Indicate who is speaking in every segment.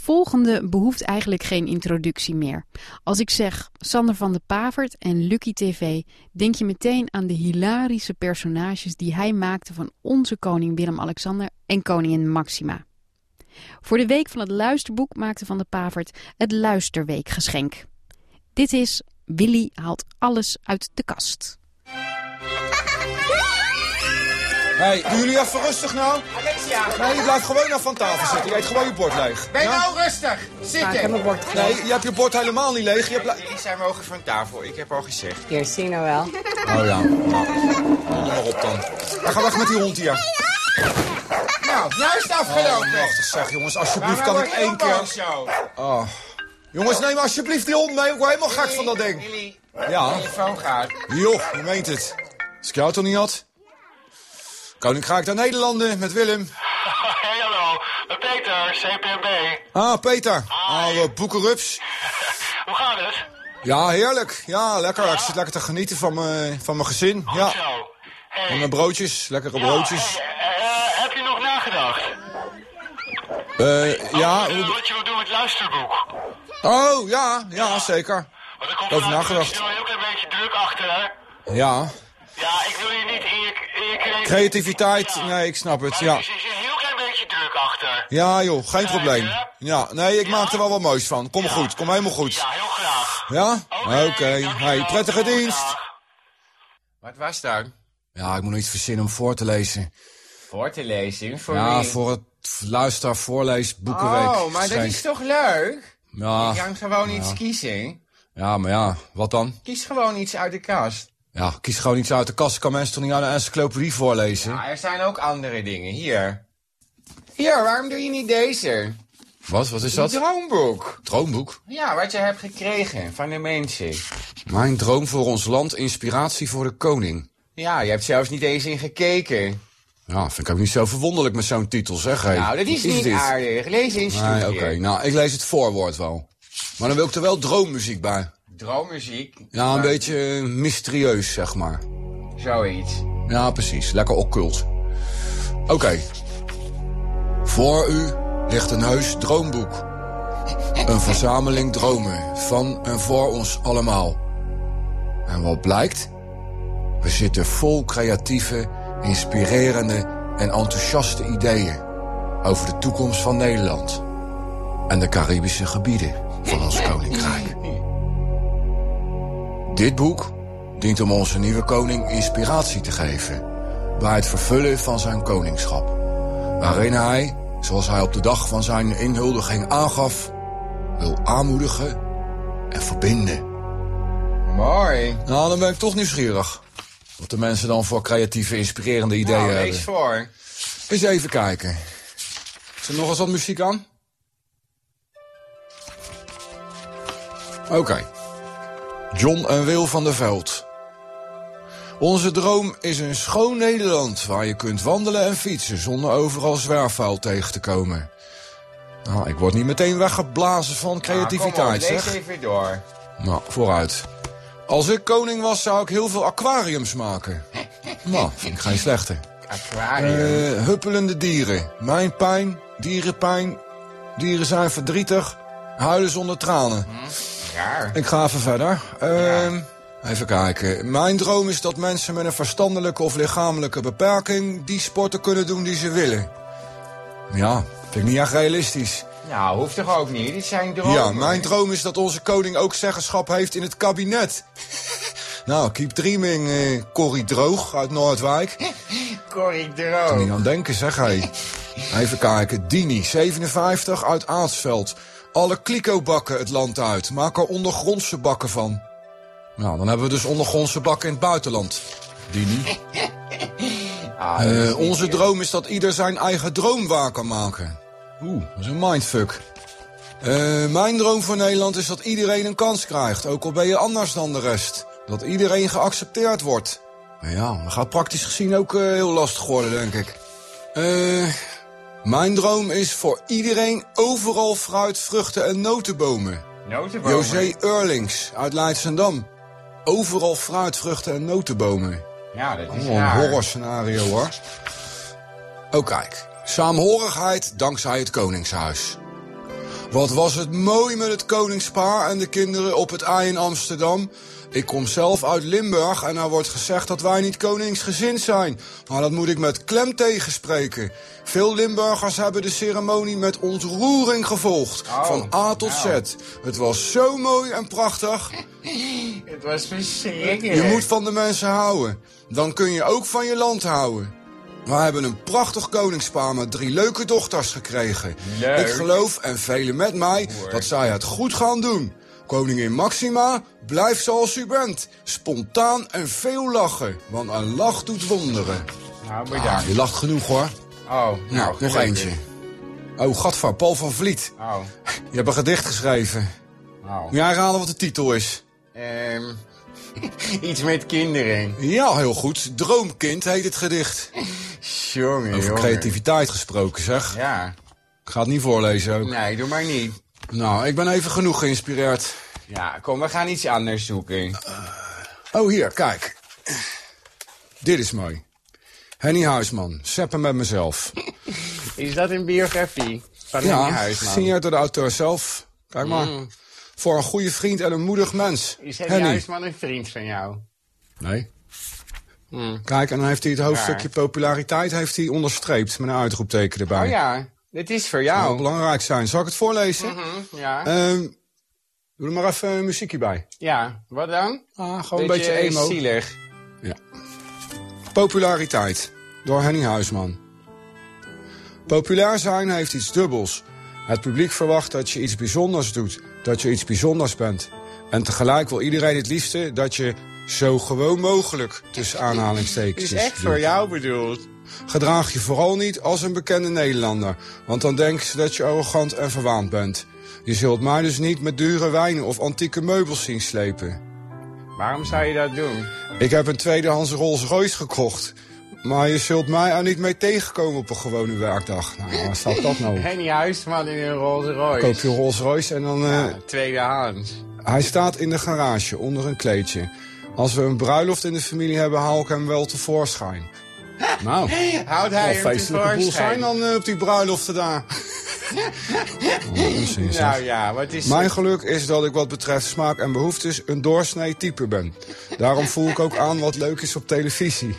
Speaker 1: volgende behoeft eigenlijk geen introductie meer. Als ik zeg Sander van de Pavert en Lucky TV, denk je meteen aan de hilarische personages die hij maakte van onze koning Willem-Alexander en koningin Maxima. Voor de week van het luisterboek maakte Van de Pavert het Luisterweekgeschenk. Dit is Willy haalt alles uit de kast.
Speaker 2: Hey, doen jullie even rustig nou?
Speaker 3: Alexia,
Speaker 2: Nee, je blijft gewoon af van tafel zitten. Je eet gewoon je bord leeg.
Speaker 3: ben
Speaker 2: Ja?
Speaker 3: nou rustig. Zitten.
Speaker 2: Nee, je hebt je bord helemaal niet leeg. Je hebt... le-
Speaker 3: Jullie zijn mogen van tafel, ik heb al gezegd.
Speaker 4: Hier, zie nou wel.
Speaker 2: Oh ja, nou. Doe er maar op dan. Ja, ga weg met die hond hier.
Speaker 3: Nou, nou is het
Speaker 2: Oh,
Speaker 3: afgelopen.
Speaker 2: machtig zeg, jongens. Alsjeblieft
Speaker 3: Mama
Speaker 2: kan ik
Speaker 3: wordt
Speaker 2: één
Speaker 3: heel boos
Speaker 2: keer...
Speaker 3: Zo.
Speaker 2: Oh. Jongens, neem alsjeblieft die hond mee. Ik word helemaal gek van dat ding.
Speaker 3: Willy,
Speaker 2: Ja.
Speaker 3: telefoon gaat.
Speaker 2: Joh, je meent het. Als ik jou toch niet had? Koning ga ik naar Nederlanden met Willem.
Speaker 5: Hey, hallo. Peter, CPMB.
Speaker 2: Ah, Peter. Oude boekenrups.
Speaker 5: Hoe gaat het?
Speaker 2: Ja, heerlijk. Ja, lekker. Ik zit lekker te genieten van mijn, van mijn gezin. Ja.
Speaker 5: Zo.
Speaker 2: En
Speaker 5: Hey.
Speaker 2: mijn broodjes, lekkere
Speaker 5: Ja,
Speaker 2: broodjes.
Speaker 5: hey, eh, eh, heb je nog nagedacht?
Speaker 2: Eh, ja.
Speaker 5: Over, eh, wat je wil doen met het luisterboek.
Speaker 2: Oh, ja, ja, zeker.
Speaker 5: Want ik kom
Speaker 2: Over
Speaker 5: vanuit
Speaker 2: nagedacht.
Speaker 5: een heel heel klein beetje druk achter, hè?
Speaker 2: Ja.
Speaker 5: Ja, ik wil je niet in je, in je creativiteit.
Speaker 2: Creativiteit,
Speaker 5: Ja.
Speaker 2: nee, ik snap het,
Speaker 5: Maar
Speaker 2: ja.
Speaker 5: Er is er is een heel klein beetje druk achter.
Speaker 2: Ja, joh, geen probleem. Ja, nee, ik maak er wel wat moois van. Kom goed, kom helemaal goed.
Speaker 5: Ja, heel graag.
Speaker 2: Ja? Oké.
Speaker 5: dankjewel.
Speaker 2: Hey, prettige
Speaker 5: Tot
Speaker 2: dienst.
Speaker 5: dag.
Speaker 3: Wat was dat?
Speaker 2: Ja, ik moet nog iets verzinnen om voor te lezen.
Speaker 3: Voor te lezen, voor
Speaker 2: Ja,
Speaker 3: wie?
Speaker 2: voor het luister, voorlees, boekenweek.
Speaker 3: Oh, maar dat
Speaker 2: geschenk.
Speaker 3: is toch leuk? Je
Speaker 2: Ja,
Speaker 3: kan gewoon iets kiezen.
Speaker 2: ja, maar ja, wat dan?
Speaker 3: Kies gewoon iets uit de kast.
Speaker 2: Ja, kies gewoon iets uit de kast. Ik kan mensen toch niet aan de encyclopedie voorlezen?
Speaker 3: Maar Nou, er zijn ook andere dingen. Hier. Hier, waarom doe je niet deze?
Speaker 2: Wat, wat is
Speaker 3: Een
Speaker 2: dat?
Speaker 3: droomboek.
Speaker 2: Droomboek?
Speaker 3: Ja, wat je hebt gekregen van de mensen.
Speaker 2: Mijn droom voor ons land, inspiratie voor de koning.
Speaker 3: Ja, je hebt zelfs niet eens in gekeken.
Speaker 2: Ja, vind ik ook niet zo verwonderlijk met zo'n titel, zeg. hé.
Speaker 3: Nou, dat is
Speaker 2: Wat
Speaker 3: niet
Speaker 2: dit?
Speaker 3: aardig. Lees eens
Speaker 2: Nee,
Speaker 3: toe.
Speaker 2: oké. Nou, ik lees het voorwoord wel. Maar dan wil ik er wel droommuziek bij.
Speaker 3: Droommuziek.
Speaker 2: Ja, een beetje eh, mysterieus, zeg maar.
Speaker 3: Zoiets.
Speaker 2: Ja, precies. Lekker occult. Oké. Voor u ligt een heus droomboek. Een verzameling dromen van en voor ons allemaal. En wat blijkt? We zitten vol creatieve, inspirerende en enthousiaste ideeën over de toekomst van Nederland en de Caribische gebieden van ons koninkrijk. Dit boek dient om onze nieuwe koning inspiratie te geven bij het vervullen van zijn koningschap. Waarin hij, zoals hij op de dag van zijn inhuldiging aangaf, wil aanmoedigen en verbinden.
Speaker 3: Mooi.
Speaker 2: Nou, dan ben ik toch nieuwsgierig. Wat de mensen dan voor creatieve, inspirerende ideeën
Speaker 3: Nou,
Speaker 2: hebben.
Speaker 3: lees voor.
Speaker 2: Eens even kijken. Zit er nog eens wat muziek aan? Oké. John en Wil van der Veld. Onze droom is een schoon Nederland waar je kunt wandelen en fietsen zonder overal zwerfvuil tegen te komen. Nou, ik word niet meteen weggeblazen van
Speaker 3: Nou,
Speaker 2: creativiteit,
Speaker 3: kom op, lees
Speaker 2: zeg.
Speaker 3: even door.
Speaker 2: Nou, vooruit. Als ik koning was, zou ik heel veel aquariums maken. Nou, vind ik geen slechte.
Speaker 3: Aquarium.
Speaker 2: Eh, huppelende dieren. Mijn pijn, dierenpijn. Dieren zijn verdrietig. Huilen zonder tranen. Eh,
Speaker 3: Raar.
Speaker 2: Ik ga even verder. Ehm, Even kijken. Mijn droom is dat mensen met een verstandelijke of lichamelijke beperking... die sporten kunnen doen die ze willen. Ja, vind ik niet echt realistisch.
Speaker 3: Nou, hoeft toch ook niet? Dit zijn dromen.
Speaker 2: Ja, mijn droom is dat onze koning ook zeggenschap heeft in het kabinet. nou, keep dreaming, eh Corrie Droog uit Noordwijk.
Speaker 3: Corrie
Speaker 2: Kan
Speaker 3: Droom.
Speaker 2: niet aan denken, zeg hij. Even kijken. Dini, 57, uit Aatsveld. Alle klikobakken het land uit. Maak er ondergrondse bakken van. Nou, dan hebben we dus ondergrondse bakken in het buitenland. Dini.
Speaker 3: Ah,
Speaker 2: Eh, onze droom is dat ieder zijn eigen droom waar kan maken. Oeh, dat is een mindfuck. Eh, mijn droom voor Nederland is dat iedereen een kans krijgt, ook al ben je anders dan de rest. Dat iedereen geaccepteerd wordt. Nou ja, dat gaat praktisch gezien ook eh, heel lastig worden, denk ik. Eh, mijn droom is voor iedereen overal fruit, vruchten en notenbomen.
Speaker 3: Notenbomen.
Speaker 2: José Eurlings uit Leidschendam. Overal fruit, vruchten en notenbomen.
Speaker 3: Ja, dat is
Speaker 2: Oh, een
Speaker 3: raar.
Speaker 2: horrorscenario hoor. Oh kijk, saamhorigheid dankzij het Koningshuis. Wat was het mooi met het koningspaar en de kinderen op het ei in Amsterdam. Ik kom zelf uit Limburg en er wordt gezegd dat wij niet koningsgezind zijn. Maar dat moet ik met klem tegenspreken. Veel Limburgers hebben de ceremonie met ontroering gevolgd.
Speaker 3: Oh,
Speaker 2: van A tot
Speaker 3: nou.
Speaker 2: Z. Het was zo mooi en prachtig.
Speaker 3: Het was verschrikkelijk.
Speaker 2: Je moet van de mensen houden. Dan kun je ook van je land houden. We hebben een prachtig koningspaar met drie leuke dochters gekregen.
Speaker 3: Leuk.
Speaker 2: Ik geloof, en velen met mij, dat zij het goed gaan doen. Koningin Maxima, blijf zoals u bent. Spontaan en veel lachen, want een lach doet wonderen.
Speaker 3: Nou, bedankt.
Speaker 2: Ah, Je lacht genoeg hoor.
Speaker 3: Oh, nou,
Speaker 2: Nou, nog
Speaker 3: gelukkig.
Speaker 2: eentje. Oh, gadver, Paul van Vliet.
Speaker 3: Oh,
Speaker 2: Je hebt een gedicht geschreven.
Speaker 3: oh.
Speaker 2: Moet jij raden wat de titel is?
Speaker 3: Ehm, iets met kinderen.
Speaker 2: Ja, heel goed. Droomkind heet het gedicht.
Speaker 3: Jongen,
Speaker 2: Over
Speaker 3: jongen.
Speaker 2: creativiteit gesproken, zeg.
Speaker 3: Ja.
Speaker 2: Ik ga het niet voorlezen ook.
Speaker 3: Nee, doe maar niet.
Speaker 2: Nou, ik ben even genoeg geïnspireerd.
Speaker 3: Ja, kom, we gaan iets anders zoeken.
Speaker 2: Oh, hier, kijk. Dit is mooi. Henny Huisman, Seppen met mezelf.
Speaker 3: Is dat een biografie van een
Speaker 2: ja,
Speaker 3: huisman? Mm.
Speaker 2: gesigneerd door de auteur zelf. Kijk maar. Voor een goede vriend en een moedig mens.
Speaker 3: Is Henny Huisman een vriend van jou?
Speaker 2: Nee.
Speaker 3: Mm.
Speaker 2: Kijk, en dan heeft hij het hoofdstukje populariteit heeft hij onderstreept met een uitroepteken erbij.
Speaker 3: Oh ja, Oh. dit is voor
Speaker 2: Dat moet
Speaker 3: jou.
Speaker 2: belangrijk zijn. Zal ik het voorlezen?
Speaker 3: Hm, Ja,
Speaker 2: Ehm, doe er maar even een muziekje bij.
Speaker 3: ja. wat dan?
Speaker 2: Ah, gewoon een beetje emo.
Speaker 3: zielig.
Speaker 2: Populariteit door Henny Huisman. Populair zijn heeft iets dubbels. Het publiek verwacht dat je iets bijzonders doet, dat je iets bijzonders bent. En tegelijk wil iedereen het liefste dat je zo gewoon mogelijk tussen
Speaker 3: Het
Speaker 2: aanhalingstekens
Speaker 3: is echt voor jou bedoeld.
Speaker 2: Gedraag je vooral niet als een bekende Nederlander, want dan denken ze dat je arrogant en verwaand bent. Je zult mij dus niet met dure wijnen of antieke meubels zien slepen.
Speaker 3: Waarom zou je dat doen?
Speaker 2: Ik heb een tweedehands Rolls Royce gekocht. Maar je zult mij er niet mee tegenkomen op een gewone werkdag. Nou, waar staat dat nou? op?
Speaker 3: Henny Huisman in een Rolls
Speaker 2: Koop je
Speaker 3: Royce.
Speaker 2: een Rolls Royce en dan... eh,
Speaker 3: Tweedehands.
Speaker 2: Hij staat in de garage, onder een kleedje. Als we een bruiloft in de familie hebben, haal ik hem wel tevoorschijn. Nou,
Speaker 3: Houdt hij
Speaker 2: wel
Speaker 3: hem
Speaker 2: feestelijke boel zijn
Speaker 3: tevoorschijn?
Speaker 2: dan eh, op die bruiloften daar. Oh, onzin, zeg.
Speaker 3: Nou ja, wat is
Speaker 2: Mijn geluk is dat ik wat betreft smaak en behoeftes een doorsnee type ben. Daarom voel ik ook aan wat leuk is op televisie.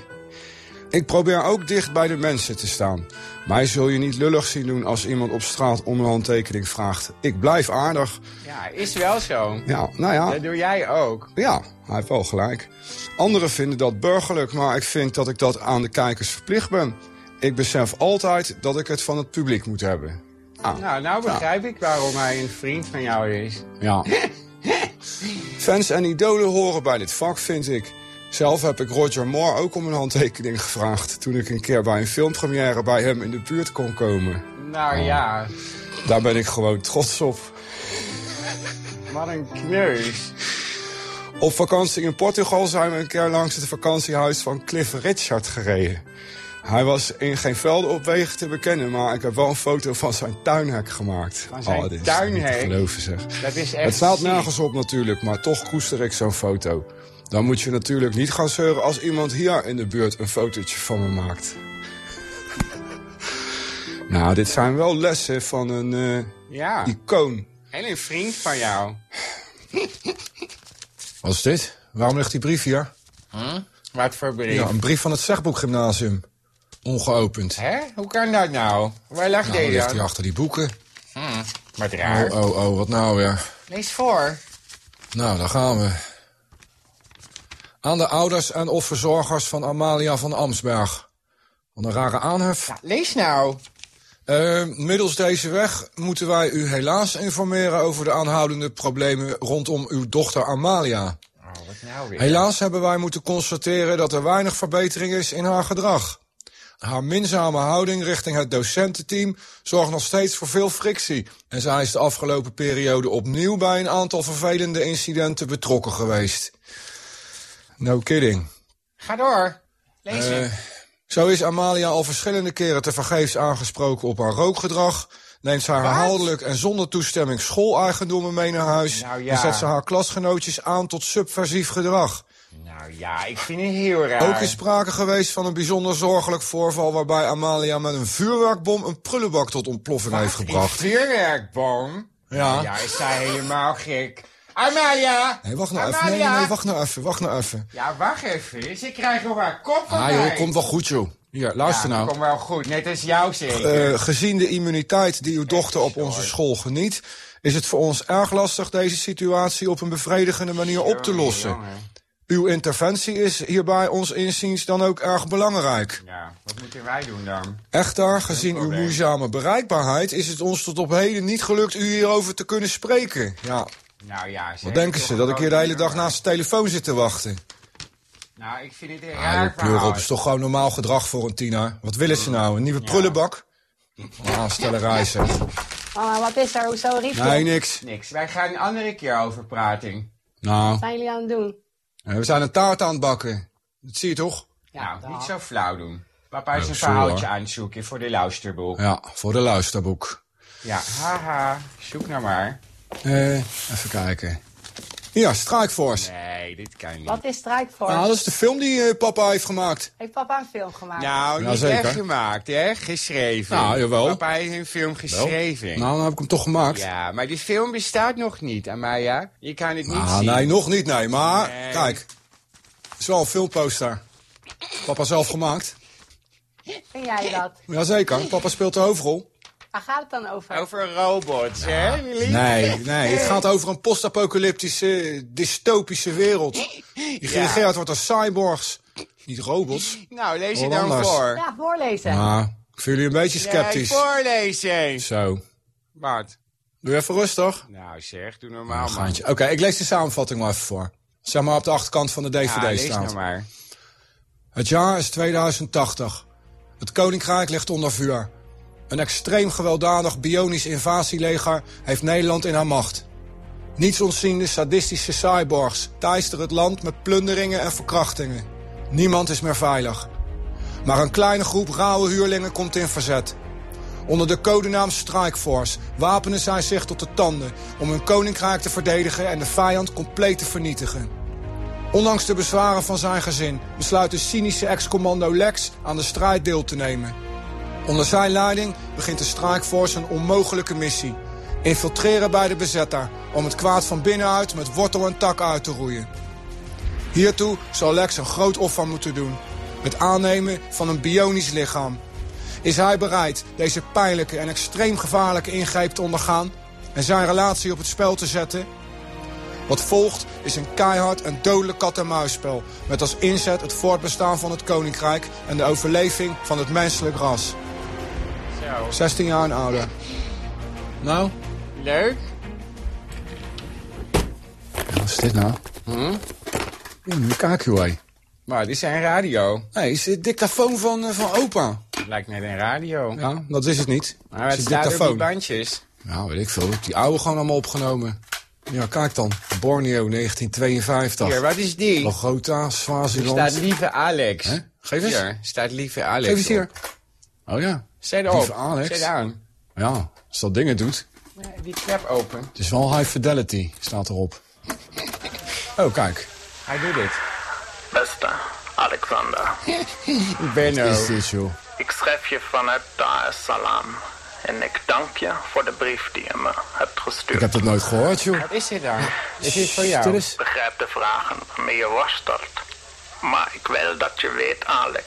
Speaker 2: Ik probeer ook dicht bij de mensen te staan. Mij zul je niet lullig zien doen als iemand op straat om een handtekening vraagt. Ik blijf aardig.
Speaker 3: Ja, is wel zo.
Speaker 2: Ja, nou ja.
Speaker 3: Dat doe jij ook.
Speaker 2: Ja, hij heeft wel gelijk. Anderen vinden dat burgerlijk, maar ik vind dat ik dat aan de kijkers verplicht ben. Ik besef altijd dat ik het van het publiek moet hebben. Ah,
Speaker 3: Nou, nou begrijp ik waarom hij een vriend van jou is.
Speaker 2: Ja. Fans en idolen horen bij dit vak, vind ik. Zelf heb ik Roger Moore ook om een handtekening gevraagd... toen ik een keer bij een filmpremière bij hem in de buurt kon komen.
Speaker 3: Nou
Speaker 2: Oh.
Speaker 3: ja,
Speaker 2: Daar ben ik gewoon trots op.
Speaker 3: wat een kneus.
Speaker 2: Op vakantie in Portugal zijn we een keer langs het vakantiehuis van Cliff Richard gereden. Hij was in geen velden op wegen te bekennen, maar ik heb wel een foto van zijn tuinhek gemaakt. Oh,
Speaker 3: Van zijn
Speaker 2: dit is toch Niet
Speaker 3: tuinhek?
Speaker 2: te geloven zeg.
Speaker 3: Dat is echt
Speaker 2: Het staat
Speaker 3: ziek.
Speaker 2: nergens op natuurlijk, maar toch koester ik zo'n foto. Dan moet je natuurlijk niet gaan zeuren als iemand hier in de buurt een fotootje van me maakt. nou, dit zijn wel lessen van een eh,
Speaker 3: Ja,
Speaker 2: icoon.
Speaker 3: en een vriend van jou.
Speaker 2: Wat is dit? Waarom ligt die brief hier?
Speaker 3: Wat voor brief.
Speaker 2: Ja, een brief van het Zegboek Gymnasium. Ongeopend.
Speaker 3: Hè? Hoe kan dat nou? Waar lag
Speaker 2: Nou, dan
Speaker 3: deze
Speaker 2: ligt
Speaker 3: dan?
Speaker 2: hij achter die boeken.
Speaker 3: Wat
Speaker 2: Oh,
Speaker 3: raar.
Speaker 2: oh, oh, wat nou weer.
Speaker 3: Lees voor.
Speaker 2: Nou, daar gaan we. Aan de ouders en of verzorgers van Amalia van Amsberg. Wat een rare aanhef.
Speaker 3: Ja, lees nou.
Speaker 2: Eh, middels deze weg moeten wij u helaas informeren over de aanhoudende problemen rondom uw dochter Amalia.
Speaker 3: Oh, wat nou weer.
Speaker 2: Helaas hebben wij moeten constateren dat er weinig verbetering is in haar gedrag. Haar minzame houding richting het docententeam zorgt nog steeds voor veel frictie. En zij is de afgelopen periode opnieuw bij een aantal vervelende incidenten betrokken geweest. No kidding.
Speaker 3: Ga door. Lees het.
Speaker 2: Zo is Amalia al verschillende keren tevergeefs aangesproken op haar rookgedrag. Neemt zij herhaaldelijk en zonder toestemming schooleigendommen mee naar huis.
Speaker 3: Nou ja.
Speaker 2: En zet ze haar klasgenootjes aan tot subversief gedrag.
Speaker 3: Nou ja, ik vind het heel raar.
Speaker 2: Ook is sprake geweest van een bijzonder zorgelijk voorval waarbij Amalia met een vuurwerkbom een prullenbak tot ontploffing heeft
Speaker 3: Een
Speaker 2: gebracht.
Speaker 3: vuurwerkboom?
Speaker 2: Ja.
Speaker 3: Ja, is zij helemaal gek. Amalia!
Speaker 2: Nee, wacht nou even. Nee,
Speaker 3: Amalia!
Speaker 2: nee, nee, wacht nou even. Wacht nou even.
Speaker 3: Ja, wacht even. eens. Ik krijg nog haar kop van
Speaker 2: Ah
Speaker 3: mij.
Speaker 2: joh, komt wel goed joh. Hier, luister
Speaker 3: nou? Ja,
Speaker 2: nou.
Speaker 3: Komt wel goed. Net als jou zeker.
Speaker 2: Eh, gezien de immuniteit die uw dochter op onze school geniet, is het voor ons erg lastig deze situatie op een bevredigende manier op te
Speaker 3: Jongen,
Speaker 2: lossen.
Speaker 3: jongen.
Speaker 2: Uw interventie is hierbij ons inziens dan ook erg belangrijk.
Speaker 3: Ja, wat moeten wij doen dan?
Speaker 2: Echter, gezien uw
Speaker 3: probleem.
Speaker 2: moeizame bereikbaarheid is het ons tot op heden niet gelukt u hierover te kunnen spreken. Ja,
Speaker 3: Nou ja,
Speaker 2: wat denken ze? Dat ik hier de hele dag naast de telefoon zit te wachten?
Speaker 3: Nou, ik vind het een
Speaker 2: Ja,
Speaker 3: raar
Speaker 2: Ah, joh, pleur
Speaker 3: verhaal.
Speaker 2: op, is toch gewoon normaal gedrag voor een tiener? Wat willen ze nou? Een nieuwe prullenbak? Ah, Maar aanstellerij zeg.
Speaker 4: Mama, Ah, wat is er? Hoezo riep je?
Speaker 2: Nee, niks.
Speaker 3: Niks. Wij gaan een andere keer over praten.
Speaker 2: Nou,
Speaker 4: Wat zijn jullie aan het doen?
Speaker 2: eh, we zijn een taart aan het bakken. Dat zie je toch?
Speaker 3: nou, niet zo flauw doen. Papa is
Speaker 2: Nou,
Speaker 3: een
Speaker 2: sorry,
Speaker 3: verhaaltje
Speaker 2: hoor. Eh.
Speaker 3: aan het zoeken voor de luisterboek. Ja.
Speaker 2: Ja, voor de luisterboek.
Speaker 3: haha. Zoek nou maar.
Speaker 2: Eh, even kijken. Ja, Struikvorst.
Speaker 3: Nee, dit kan niet.
Speaker 4: Wat is Strijkvoort?
Speaker 2: Nou, dat is de film die eh, papa heeft gemaakt.
Speaker 4: Heeft papa een film gemaakt?
Speaker 3: Nou,
Speaker 2: Ja,
Speaker 3: niet
Speaker 2: zeker.
Speaker 3: echt gemaakt, hè? Geschreven.
Speaker 2: Nou, jawel.
Speaker 3: Papa heeft een film geschreven.
Speaker 2: Nou, dan heb ik hem toch gemaakt.
Speaker 3: Ja, maar die film bestaat nog niet, Amaya. Je kan het niet
Speaker 2: Ah,
Speaker 3: zien.
Speaker 2: nee, nog niet, nee. Maar,
Speaker 3: Nee.
Speaker 2: kijk. Het is wel een filmposter. Papa zelf gemaakt.
Speaker 4: Vind jij dat?
Speaker 2: Jazeker, papa speelt de hoofdrol.
Speaker 4: Waar gaat het dan over?
Speaker 3: Over robots, hè, Willy?
Speaker 2: Nou, Nee, nee, het gaat over een postapocalyptische, dystopische wereld. Die geregeerd wordt door cyborgs, niet robots.
Speaker 3: Nou, lees je
Speaker 2: Hoor
Speaker 3: dan
Speaker 2: Oh, anders.
Speaker 3: voor.
Speaker 4: Ja, voorlezen.
Speaker 2: Ah, ik voel jullie een beetje
Speaker 3: Nee,
Speaker 2: sceptisch.
Speaker 3: voorlezen.
Speaker 2: Zo,
Speaker 3: Wat?
Speaker 2: doe even rustig.
Speaker 3: Nou zeg, doe
Speaker 2: Ah,
Speaker 3: normaal, man.
Speaker 2: gaantje. Oké, ik lees de samenvatting maar even voor. Zeg maar op de achterkant van de DVD
Speaker 3: Ja, lees
Speaker 2: staat.
Speaker 3: nou maar.
Speaker 2: Het jaar is 2080. Het koninkrijk ligt onder vuur. Een extreem gewelddadig bionisch invasieleger heeft Nederland in haar macht. Niets ontziende sadistische cyborgs teisteren het land met plunderingen en verkrachtingen. Niemand is meer veilig. Maar een kleine groep rauwe huurlingen komt in verzet. Onder de codenaam Strikeforce wapenen zij zich tot de tanden om hun koninkrijk te verdedigen en de vijand compleet te vernietigen. Ondanks de bezwaren van zijn gezin besluit de cynische ex-commando Lex aan de strijd deel te nemen. Onder zijn leiding begint de Strikeforce een onmogelijke missie: infiltreren bij de bezetter om het kwaad van binnenuit met wortel en tak uit te roeien. Hiertoe zal Lex een groot offer moeten doen: het aannemen van een bionisch lichaam. Is hij bereid deze pijnlijke en extreem gevaarlijke ingreep te ondergaan en zijn relatie op het spel te zetten? Wat volgt is een keihard en dodelijk kat-en-muisspel. Met als inzet het voortbestaan van het koninkrijk en de overleving van het menselijk ras.
Speaker 3: Zo.
Speaker 2: 16 jaar en ouder. Nou?
Speaker 3: Leuk?
Speaker 2: Wat is dit nou? Hm? Oeh, kijk joh. hé.
Speaker 3: Maar dit is een radio.
Speaker 2: Nee, is dit dictafoon van, eh, van opa?
Speaker 3: Het lijkt net een radio.
Speaker 2: Ja, dat is het niet.
Speaker 3: Maar
Speaker 2: Het
Speaker 3: het
Speaker 2: is
Speaker 3: staat op die bandjes.
Speaker 2: Nou, weet ik veel. Ik heb die oude gewoon allemaal opgenomen. Ja, kijk dan. Borneo
Speaker 3: Hier,
Speaker 2: 1952.
Speaker 3: wat is die? Er
Speaker 2: Logota, Swaziland.
Speaker 3: staat lieve Alex.
Speaker 2: Hè? Geef eens.
Speaker 3: Hier, staat lieve Alex
Speaker 2: Geef eens
Speaker 3: op.
Speaker 2: hier. Oh ja.
Speaker 3: Zet op.
Speaker 2: Lieve Alex.
Speaker 3: Zet aan.
Speaker 2: Ja, als dat dingen doet.
Speaker 3: Die klep open.
Speaker 2: Het is wel high fidelity, staat erop. Oh, kijk.
Speaker 3: Hij doet het.
Speaker 6: Beste Alexander,
Speaker 3: Benno.
Speaker 2: Is dit, joh.
Speaker 6: ik schrijf je vanuit Dar es Salaam. En ik dank je voor de brief die je me hebt
Speaker 2: Ik
Speaker 6: gestuurd.
Speaker 2: heb dat nooit gehoord, joh.
Speaker 3: Wat is dit dan? Dit is voor
Speaker 2: Dit
Speaker 3: jou.
Speaker 2: is-
Speaker 6: Ik begrijp de vragen waarmee je worstelt. Maar ik wil dat je weet, Alex,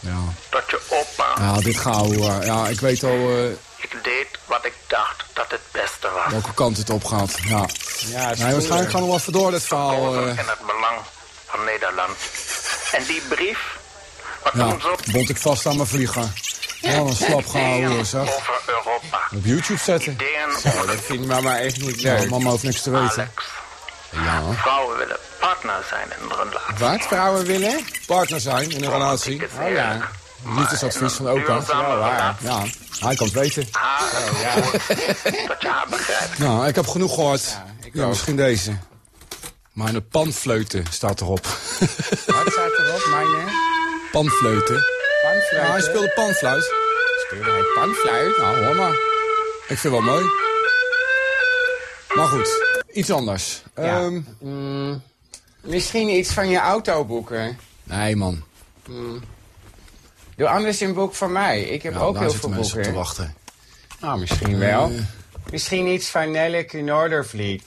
Speaker 2: Ja.
Speaker 6: dat je opa...
Speaker 2: ja, dit gauw. eh, ja, ik weet al eh,
Speaker 6: Ik deed wat ik dacht dat het beste was.
Speaker 2: welke kant het op gaat. Ja.
Speaker 3: Ja, is
Speaker 2: nee, waarschijnlijk gaan we wel even door, dit verhaal.
Speaker 6: Over
Speaker 2: eh.
Speaker 6: in het belang van Nederland. En die brief, wat
Speaker 2: ja, Oh,
Speaker 6: ons ook
Speaker 2: bond ik vast aan mijn vlieger. Ja, een slap gehouden,
Speaker 6: ideeën
Speaker 2: zeg.
Speaker 6: over Europa.
Speaker 2: Op YouTube zetten.
Speaker 6: Ideeën
Speaker 3: Oh,
Speaker 6: over
Speaker 3: dat vindt mama echt niet
Speaker 2: Ja,
Speaker 3: leuk.
Speaker 2: mama hoeft niks te weten.
Speaker 6: Alex.
Speaker 2: Ja.
Speaker 6: Vrouwen willen partner zijn in een relatie.
Speaker 3: Wat vrouwen willen?
Speaker 2: Partner zijn in een relatie.
Speaker 6: Is
Speaker 3: Oh
Speaker 6: heerlijk.
Speaker 3: ja.
Speaker 2: Liefdesadvies van opa.
Speaker 6: Duurzame relatie.
Speaker 2: Ja, hij kan het weten.
Speaker 6: Haar is goed dat je haar begrijpt.
Speaker 2: Nou, ik heb genoeg gehoord. Ja,
Speaker 3: ik ook.
Speaker 2: misschien deze. Maar een panfleuten staat erop.
Speaker 3: Wat staat erop, mijne?
Speaker 2: panfleuten.
Speaker 3: Panfluit.
Speaker 2: Ja, hij speelde panfluit.
Speaker 3: Speelde hij panfluit?
Speaker 2: Nou, hoor maar. Ik vind wel mooi. Maar goed, iets anders.
Speaker 3: Ja.
Speaker 2: Ehm,
Speaker 3: Misschien iets van je auto boeken.
Speaker 2: nee, man.
Speaker 3: Doe anders een boek van mij. Ik heb
Speaker 2: Ja,
Speaker 3: ook
Speaker 2: daar
Speaker 3: heel
Speaker 2: zitten
Speaker 3: veel
Speaker 2: mensen op te
Speaker 3: boeken.
Speaker 2: wachten.
Speaker 3: Nou, misschien wel.
Speaker 2: Eh,
Speaker 3: Misschien iets van Nelleke Noordervliet.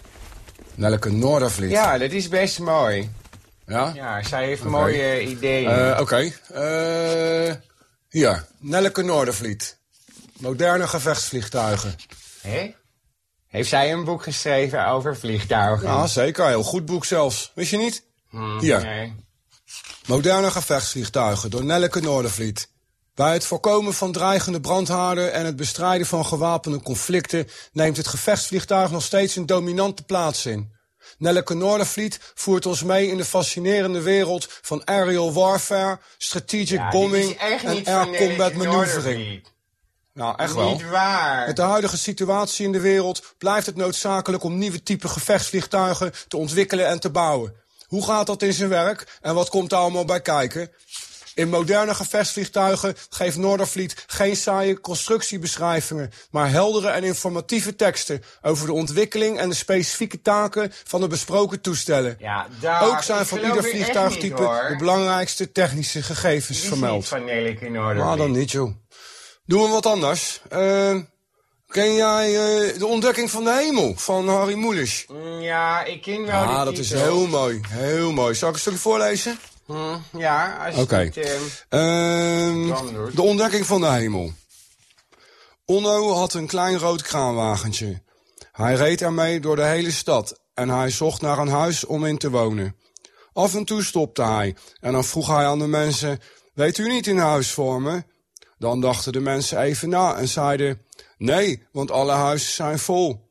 Speaker 2: Nelke Noordervliet.
Speaker 3: Ja, dat is best mooi.
Speaker 2: Ja?
Speaker 3: Ja, zij heeft mooie ideeën.
Speaker 2: Eh, Oké. Eh hier, Nelke Noordervliet. Moderne gevechtsvliegtuigen.
Speaker 3: Hé? Heeft zij een boek geschreven over vliegtuigen?
Speaker 2: Ja, zeker. Heel goed boek zelfs. Wist je niet? Hier,
Speaker 3: Hmm. Nee.
Speaker 2: moderne gevechtsvliegtuigen door Nelke Noordervliet. Bij het voorkomen van dreigende brandhaarden en het bestrijden van gewapende conflicten neemt het gevechtsvliegtuig nog steeds een dominante plaats in. Nelleke Noordervliet voert ons mee in de fascinerende wereld van aerial warfare, strategic
Speaker 3: Ja, dit is
Speaker 2: bombing
Speaker 3: echt
Speaker 2: en
Speaker 3: niet
Speaker 2: air
Speaker 3: van eh,
Speaker 2: combat
Speaker 3: Nelleke
Speaker 2: maneuvering.
Speaker 3: Noordervliet.
Speaker 2: Nou, echt wel.
Speaker 3: Niet waar.
Speaker 2: Met de huidige situatie in de wereld blijft het noodzakelijk om nieuwe type gevechtsvliegtuigen te ontwikkelen en te bouwen. Hoe gaat dat in zijn werk en wat komt daar allemaal bij kijken? In moderne gevechtsvliegtuigen geeft Noordervliet geen saaie constructiebeschrijvingen, maar heldere en informatieve teksten over de ontwikkeling en de specifieke taken van de besproken toestellen.
Speaker 3: Ja, daar-
Speaker 2: Ook zijn
Speaker 3: ik
Speaker 2: voor
Speaker 3: geloof
Speaker 2: ieder
Speaker 3: u echt
Speaker 2: vliegtuigtype
Speaker 3: niet, hoor.
Speaker 2: de belangrijkste technische gegevens
Speaker 3: Dit is
Speaker 2: vermeld.
Speaker 3: niet van Nelleke Noordervliet.
Speaker 2: Maar dan niet, joh. Doen we wat anders. Eh, ken jij eh, De Ontdekking van de Hemel van Harry Mulisch?
Speaker 3: Mm, Ja, ik ken wel die
Speaker 2: ah, dat is
Speaker 3: titel.
Speaker 2: heel mooi. Heel mooi. Zal ik een stukje voorlezen?
Speaker 3: Hm, Ja, als je
Speaker 2: Oké.
Speaker 3: het, ehm,
Speaker 2: Ehm,
Speaker 3: Dan dus.
Speaker 2: de ontdekking van de hemel. Onno had een klein rood kraanwagentje. Hij reed ermee door de hele stad en hij zocht naar een huis om in te wonen. Af en toe stopte hij en dan vroeg hij aan de mensen: Weet u niet in huis voor me? Dan dachten de mensen even na en zeiden: Nee, want alle huizen zijn vol.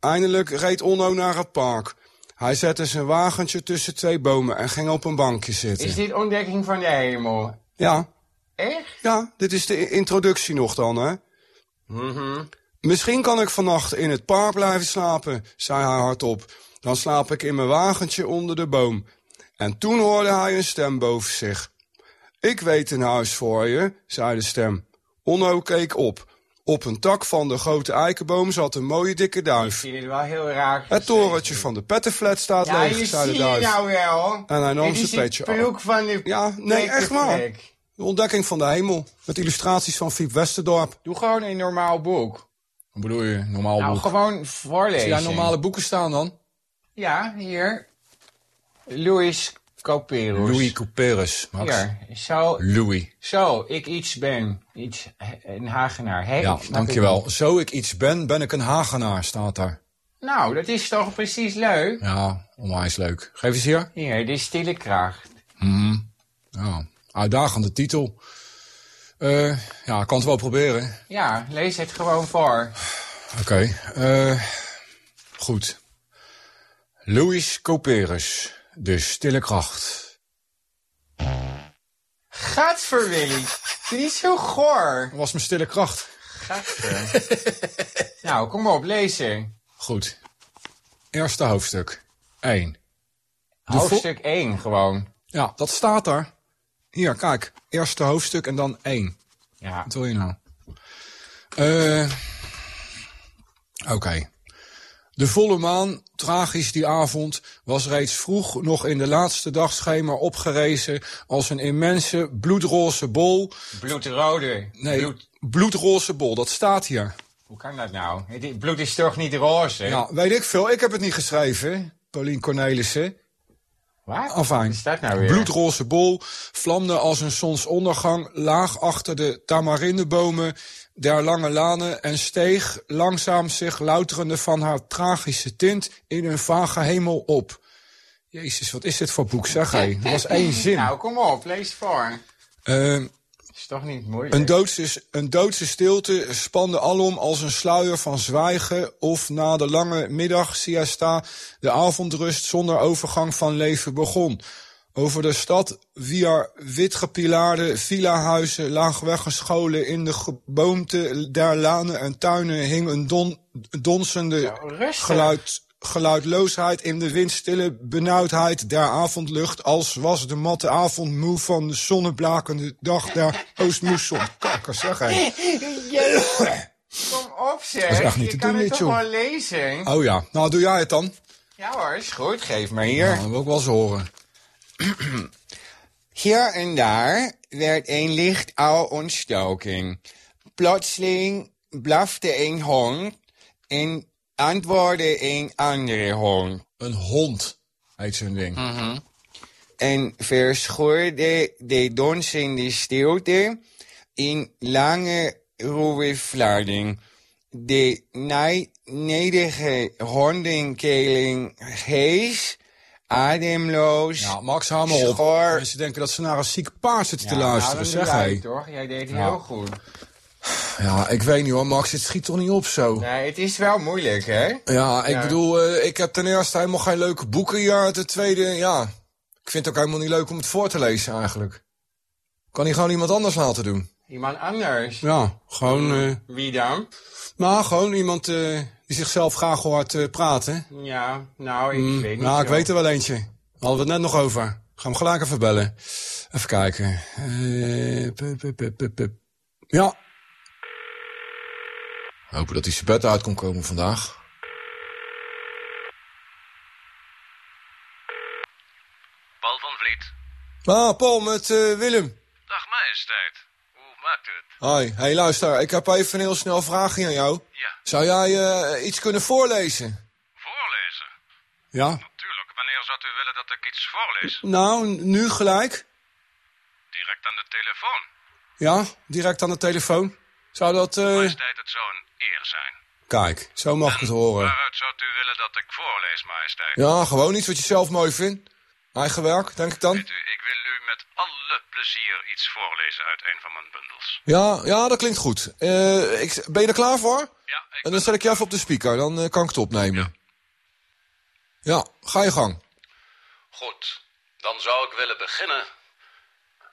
Speaker 2: Eindelijk reed Onno naar het park. Hij zette zijn wagentje tussen twee bomen en ging op een bankje zitten.
Speaker 3: is dit ontdekking van de hemel?
Speaker 2: Ja,
Speaker 3: Echt?
Speaker 2: ja, dit is de i- introductie nog dan, hè?
Speaker 3: Mm-hmm.
Speaker 2: Misschien kan ik vannacht in het park blijven slapen, zei hij hardop. Dan slaap ik in mijn wagentje onder de boom. En toen hoorde hij een stem boven zich. Ik weet een huis voor je, zei de stem. Onno keek op. Op een tak van de grote eikenboom zat een mooie dikke
Speaker 3: Ik
Speaker 2: duif.
Speaker 3: vind het wel heel raar.
Speaker 2: Het torentje van de pettenflat staat
Speaker 3: Ja,
Speaker 2: leeg,
Speaker 3: je
Speaker 2: zei de
Speaker 3: ziet het
Speaker 2: duif.
Speaker 3: nou wel.
Speaker 2: En hij nam
Speaker 3: Dit
Speaker 2: zijn
Speaker 3: is het
Speaker 2: petje af.
Speaker 3: broek van de...
Speaker 2: Ja, nee, echt waar. De ontdekking van de hemel, met illustraties van Fiep Westerdorp.
Speaker 3: Doe gewoon een normaal boek.
Speaker 2: Wat bedoel je, normaal
Speaker 3: Nou, gewoon voorlezen.
Speaker 2: Zie jij normale boeken staan dan?
Speaker 3: Ja, hier. Louis Copérus.
Speaker 2: Couperus,
Speaker 3: Hier, zo,
Speaker 2: Louis.
Speaker 3: zo, ik iets ben. Iets, eh, een Hagenaar. Hè? Ik snap het niet.
Speaker 2: Zo ik iets ben, ben ik een Hagenaar, staat daar.
Speaker 3: Nou, dat is toch precies leuk?
Speaker 2: Ja, onwijs leuk. Geef eens hier.
Speaker 3: Hier, de stille kracht.
Speaker 2: Ja, uitdagende titel. Eh, ja, ik kan het wel proberen.
Speaker 3: Ja, lees het gewoon voor.
Speaker 2: Oké, eh, goed. Louis Couperus, De Stille Kracht.
Speaker 3: Gadver, Willy. Dit is zo goor.
Speaker 2: Dat was mijn stille kracht.
Speaker 3: Gadver. nou, kom op, lezen.
Speaker 2: Goed. Eerste hoofdstuk. 1.
Speaker 3: Hoofdstuk 1 gewoon.
Speaker 2: Ja, dat staat daar. Hier, kijk. Eerste hoofdstuk en dan 1.
Speaker 3: Ja.
Speaker 2: Wat wil je nou? Eh, Oké. De volle maan, tragisch die avond, was reeds vroeg nog in de laatste dagschemer opgerezen als een immense bloedroze bol.
Speaker 3: Bloedrode.
Speaker 2: Nee,
Speaker 3: Bloed.
Speaker 2: bloedroze bol, dat staat hier.
Speaker 3: Hoe kan dat nou? Het bloed is toch niet roze?
Speaker 2: Ja, Nou, weet ik veel, ik heb het niet geschreven, Paulien Cornelissen.
Speaker 3: Wat?
Speaker 2: Afijn.
Speaker 3: Wat is dat nou weer?
Speaker 2: Bloedroze bol vlamde als een zonsondergang laag achter de tamarindebomen der lange lanen en steeg langzaam zich louterende van haar tragische tint in een vage hemel op. Jezus, wat is dit voor boek, zeg hij. Dat was één zin.
Speaker 3: Nou, kom op, lees voor.
Speaker 2: Ehm,
Speaker 3: Is toch niet moeilijk?
Speaker 2: een, doodse, een doodse stilte spande alom als een sluier van zwijgen of na de lange middag siesta de avondrust zonder overgang van leven begon. Over de stad via witgepilaarde villahuizen laag weggescholen in de geboomte der lanen en tuinen hing een don, donsende
Speaker 3: rustig.
Speaker 2: geluid, geluidloosheid in de windstille benauwdheid der avondlucht als was de matte avondmoe van de zonneblakende dag der oostmoesson. Kakker zeg hij.
Speaker 3: Kom op, zeg.
Speaker 2: is echt niet te
Speaker 3: je kan
Speaker 2: doen,
Speaker 3: het
Speaker 2: dit,
Speaker 3: toch
Speaker 2: joh.
Speaker 3: wel lezen?
Speaker 2: Oh ja, nou doe jij het dan.
Speaker 3: Ja hoor, is goed. Geef maar
Speaker 2: Ja,
Speaker 3: hier.
Speaker 2: dat wil ik wel eens horen.
Speaker 3: Hier en daar werd een licht al ontstoken. Plotseling blafte een hond in antwoorden in andere hond.
Speaker 2: Een hond heet zo'n ding.
Speaker 3: Mm. en verschoorde de dons in de stilte in lange ruwe vlaarding. De nijdige hondenkeling hees, ademloos.
Speaker 2: Ja, Max, hou maar op.
Speaker 3: Schor.
Speaker 2: Mensen denken dat ze naar een ziek paard zitten te luisteren,
Speaker 3: nou,
Speaker 2: zeg
Speaker 3: dan doe jij
Speaker 2: hé.
Speaker 3: het toch? Jij deed het
Speaker 2: Ja.
Speaker 3: heel goed.
Speaker 2: Ja, ik weet niet hoor, Max, het schiet toch niet op zo.
Speaker 3: Nee, het is wel moeilijk, hè?
Speaker 2: Ja, ik
Speaker 3: Ja.
Speaker 2: bedoel, eh, ik heb ten eerste helemaal geen leuke boeken. Ja, ten tweede, ja, ik vind het ook helemaal niet leuk om het voor te lezen eigenlijk. Kan hij gewoon iemand anders laten doen?
Speaker 3: Iemand anders.
Speaker 2: Ja, gewoon, eh,
Speaker 3: Wie dan?
Speaker 2: nou, gewoon iemand eh, die zichzelf graag hoort eh, praten.
Speaker 3: Ja, nou, ik
Speaker 2: Mm,
Speaker 3: weet niet
Speaker 2: nou, ik
Speaker 3: zo.
Speaker 2: weet er wel eentje. Daar hadden we het net nog over. Gaan we gelijk even bellen. Even kijken. Eh, pup, pup, pup, pup, pup. Ja. Hopen dat hij zijn bed uit kon komen vandaag.
Speaker 7: Paul van Vliet.
Speaker 2: Ah, Paul, met eh, Willem.
Speaker 7: Dag majesteit. Hoe maakt u het?
Speaker 2: Hoi, hey, luister, ik heb even een heel snel vraagje aan jou.
Speaker 7: Ja.
Speaker 2: Zou jij eh, iets kunnen voorlezen?
Speaker 7: Voorlezen?
Speaker 2: Ja.
Speaker 7: Tuurlijk. Wanneer zou u willen dat ik iets voorlees?
Speaker 2: Nou, nu gelijk.
Speaker 7: Direct aan de telefoon.
Speaker 2: Ja, direct aan de telefoon. Zou dat... eh,
Speaker 7: Majesteit, het zou een eer zijn.
Speaker 2: Kijk, zo mag ik het horen.
Speaker 7: Waaruit zou u willen dat ik voorlees, majesteit?
Speaker 2: Ja, gewoon iets wat je zelf mooi vindt. Eigen werk, denk ik dan.
Speaker 7: Weet u, ik wil u met alle plezier iets voorlezen uit een van mijn bundels.
Speaker 2: Ja, ja dat klinkt goed. Eh, ik, ben je er klaar voor?
Speaker 7: Ja, ik
Speaker 2: En dan zet ik je even op de speaker, dan eh, kan ik het opnemen. Ja, ga je gang.
Speaker 7: Goed, dan zou ik willen beginnen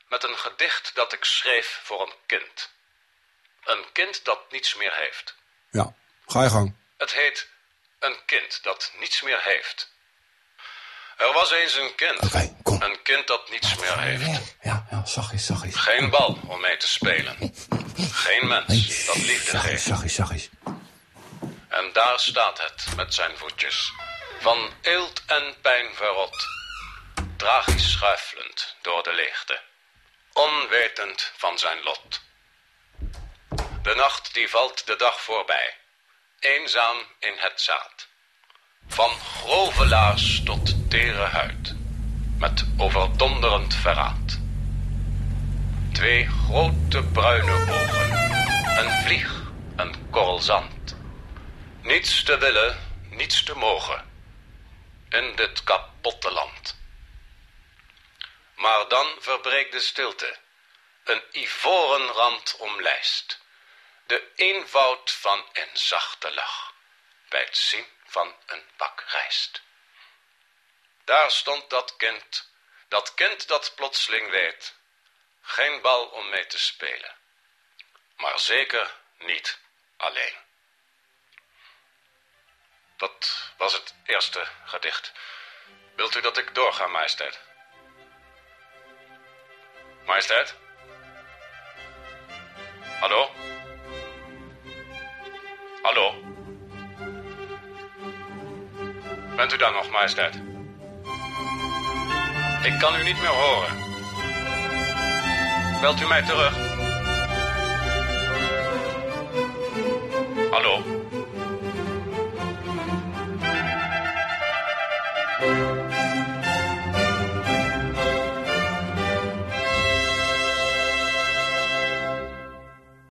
Speaker 7: met een gedicht dat ik schreef voor een kind. Een kind dat niets meer heeft.
Speaker 2: Ja, ga je gang.
Speaker 7: Het heet Een kind dat niets meer heeft. Er was eens een kind.
Speaker 2: Oké, kom.
Speaker 7: Een kind dat niets meer heeft.
Speaker 2: Ja, ja, zachtjes, zachtjes.
Speaker 7: Geen bal om mee te spelen. Geen mens dat liefde geeft.
Speaker 2: Zachtjes, zachtjes.
Speaker 7: En daar staat het met zijn voetjes. Van eelt en pijn verrot. Tragisch schuifelend door de leegte. Onwetend van zijn lot. De nacht die valt de dag voorbij. Eenzaam in het zaad. Van grove laars tot tere huid. Met overdonderend verraad. Twee grote bruine ogen. Een vlieg, een korrel zand. Niets te willen, niets te mogen. In dit kapotte land. Maar dan verbreekt de stilte. Een ivoren rand omlijst. De eenvoud van een zachte lach. Bij het zien van een bak rijst. Daar stond dat kind. Dat kind dat plotseling weet. Geen bal om mee te spelen. Maar zeker niet alleen. Dat was het eerste gedicht. Wilt u dat ik doorga, majesteit? Majesteit? Hallo? Hallo? Bent u daar nog, majesteit? Ik kan u niet meer horen. Belt u mij terug?